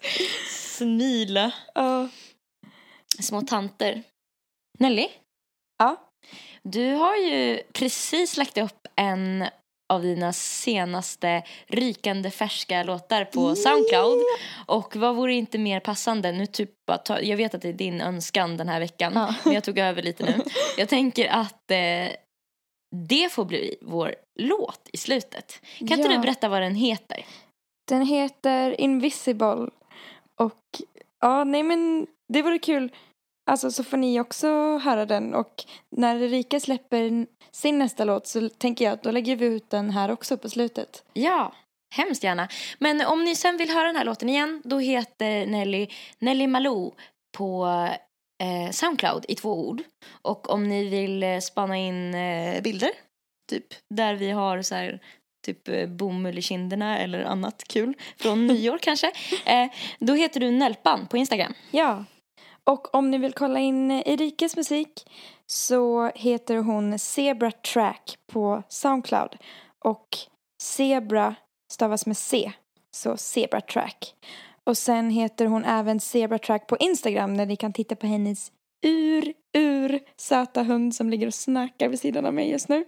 S5: Snila
S2: Ja.
S5: små tanter. Nelly?
S2: Ja.
S5: Du har ju precis lagt upp en av dina senaste rykande färska låtar på Soundcloud. Och vad vore inte mer passande? Nu typ bara ta, jag vet att det är din önskan den här veckan,
S2: Ja.
S5: men jag tog över lite nu. Jag tänker att eh, det får bli vår låt i slutet. Kan inte
S2: Ja.
S5: du berätta vad den heter?
S2: Den heter Invisible. Och ja, nej men det vore kul. Alltså så får ni också höra den och när Erika släpper n- sin nästa låt så tänker jag att då lägger vi ut den här också på slutet.
S5: Ja, hemskt gärna. Men om ni sen vill höra den här låten igen, då heter Nelly Nelly Malou på eh, Soundcloud i två ord. Och om ni vill eh, spana in eh, bilder, typ, där vi har så här typ eh, bomull i kinderna eller annat kul från nyår kanske, eh, då heter du Nelpan på Instagram.
S2: Ja. Och om ni vill kolla in Erikas musik så heter hon Zebra Track på Soundcloud. Och Zebra stavas med C, så Zebra Track. Och sen heter hon även Zebra Track på Instagram där ni kan titta på hennes ur, ur söta hund som ligger och snarkar vid sidan av mig just nu.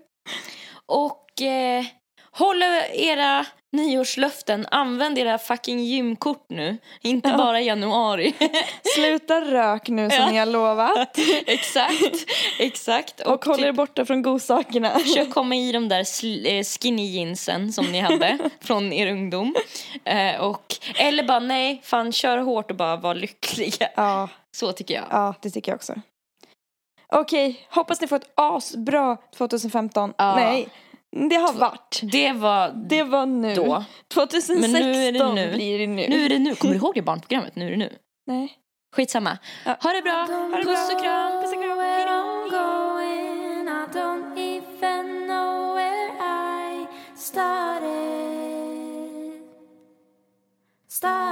S5: Och eh, håll era nyårslöften, använd era fucking gymkort nu, inte
S2: Ja.
S5: bara i januari.
S2: Sluta rök nu som
S5: Ja.
S2: ni har lovat.
S5: exakt, exakt.
S2: Och, håll
S5: typ-
S2: er borta från godsakerna.
S5: Försök komma i de där sl- eh, skinny jeansen som ni hade från er ungdom. Eh, och, eller bara nej, fan kör hårt och bara var lyckliga.
S2: Ja.
S5: Så tycker jag.
S2: Ja, det tycker jag också. Okej, hoppas ni får ett asbra 2015.
S5: Ja.
S2: Nej, det har varit.
S5: Det var
S2: Det var nu.
S5: då.
S2: 2016
S5: Men nu är det nu.
S2: blir det nu.
S5: Nu är det nu. Kommer du ihåg det barnprogrammet? Nu är det nu.
S2: Nej.
S5: Skitsamma.
S2: Ja.
S5: Ha det bra.
S2: Ha det bra.
S5: Puss och kram.
S2: Puss och kram. Hej då.
S8: started. Started.